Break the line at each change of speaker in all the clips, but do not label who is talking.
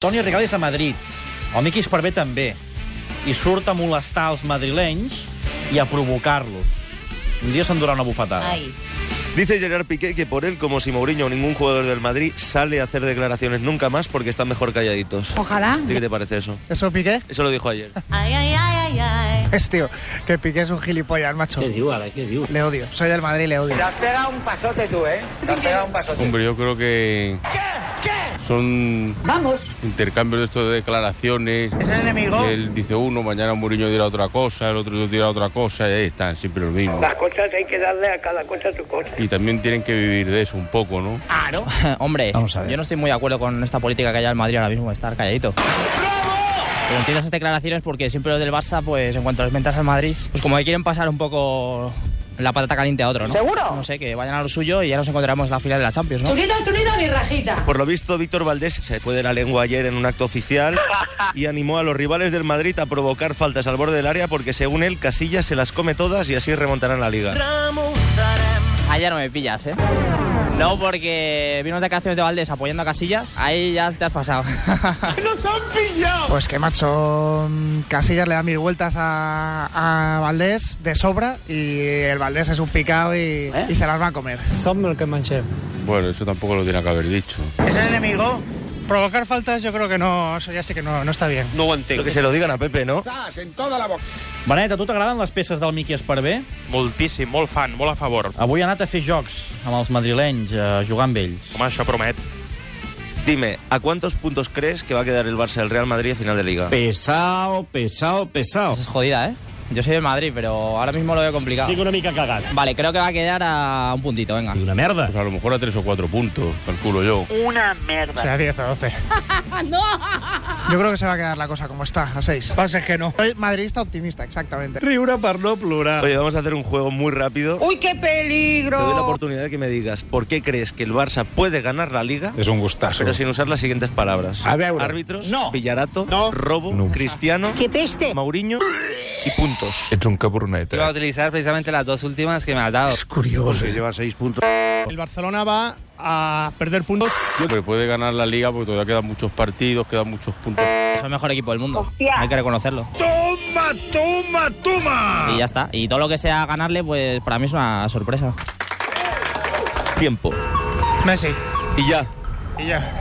Toni Regal és a Madrid. El Miqui Esparvé també. I surt a molestar els madrilenys i a provocar-los. Un dia s'endurà una bufetada.
Ay.
Dice Gerard Piqué que por él, como si Mourinho o ningún jugador del Madrid, sale a hacer declaraciones nunca más porque están mejor calladitos.
Ojalá.
¿A ti ¿Qué te parece eso?
¿Eso Piqué?
Eso lo dijo ayer.
Ay, ay, ay, ay, ay.
Es tío, que Piqué es un gilipollas, macho. Le odio. Soy del Madrid, le odio.
Te has pegado un pasote tú, ¿eh? Te has pegado un pasote.
Hombre, yo creo que... Son intercambios de estos de declaraciones.
¿Es el enemigo?
Él dice uno, mañana Mourinho dirá otra cosa, el otro dirá otra cosa, y ahí están, siempre lo mismo.
Las cosas hay que darle a cada cosa su cosa.
Y también tienen que vivir de eso un poco, ¿no?
Hombre, yo no estoy muy de acuerdo con esta política que hay en Madrid ahora mismo, de estar calladito. Pero entiendo esas declaraciones porque siempre los del Barça, pues en cuanto les mentas al Madrid, pues como que quieren pasar un poco la patata caliente a otro, ¿no? ¿Seguro? No sé, que vayan a lo suyo y ya nos encontraremos en la final de la Champions, ¿no?
Por lo visto, Víctor Valdés se fue de la lengua ayer en un acto oficial y animó a los rivales del Madrid a provocar faltas al borde del área porque, según él, Casillas se las come todas y así remontarán la liga.
Ahí ya no me pillas, ¿eh? No, porque vimos declaraciones de Valdés apoyando a Casillas, ahí ya te has pasado.
Pues que, macho, mm, Casillas le da mil vueltas a, a Valdés de sobra y el Valdés es un picado y, y se las va a comer.
Bueno, eso tampoco lo tiene que haber dicho.
¿Es el enemigo?
Provocar faltas yo creo que no, eso ya sí que no, no está bien.
No Lo que se lo digan a Pepe, ¿no?
Benet, a tu t'agraden les peces del Miqui Esparvé?
Moltíssim, molt fan, molt a favor.
Avui ha anat a fer jocs amb els madrilenys, a jugar amb ells.
Home, això promet.
Dime, ¿a cuántos puntos crees que va a quedar el Barça del Real Madrid a final de liga?
Pesao, pesao, pesao.
es jodida, ¿eh? Yo soy de Madrid, pero ahora mismo lo veo complicado.
una mica cagat.
Vale, creo que va a quedar a un puntito, venga.
Una merda.
Pues a lo mejor a tres o cuatro puntos, calculo yo.
Una
O
mierda.
sea, 10 o 12.
Yo creo que se va a quedar la cosa como está, a 6.
Pasa que no.
Soy madridista optimista, exactamente.
Riure per no plorar.
Oye, vamos a hacer un juego muy rápido.
¡Uy,
Te
qué
doy la
peligro!
oportunidad de que me digas por qué crees que el Barça puede ganar la liga.
És un gustazo.
Pero sin usar las siguientes palabras.
A veure.
Árbitros,
No.
Villarato,
No.
Robo, Cristiano,
peste!
Mauriño y puntos.
Ets un cabornet,
Iba a utilizar precisamente las dos últimas que me has dado.
El Barcelona va a perder puntos.
Pero puede ganar la liga porque todavía quedan muchos partidos, quedan muchos puntos.
Es el mejor equipo del mundo. Hay que reconocerlo.
Toma, toma, toma.
Y ya está. Y todo lo que sea ganarle, pues para mí es una sorpresa.
Tiempo.
Messi.
Y ya.
Y ya.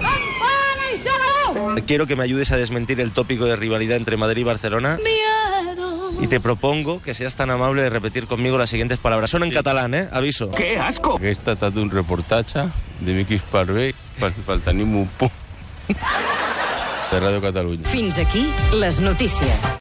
Quiero que me ayudes a desmentir el tópico de rivalidad entre Madrid y Barcelona. Y te propongo que seas tan amable de repetir conmigo las siguientes palabras. Son en catalán, ¿eh? Aviso.
Aquesta ha estat un reportatge de Miqui Esparvé per, per tenir un punt de Ràdio Catalunya.
Fins aquí les notícies.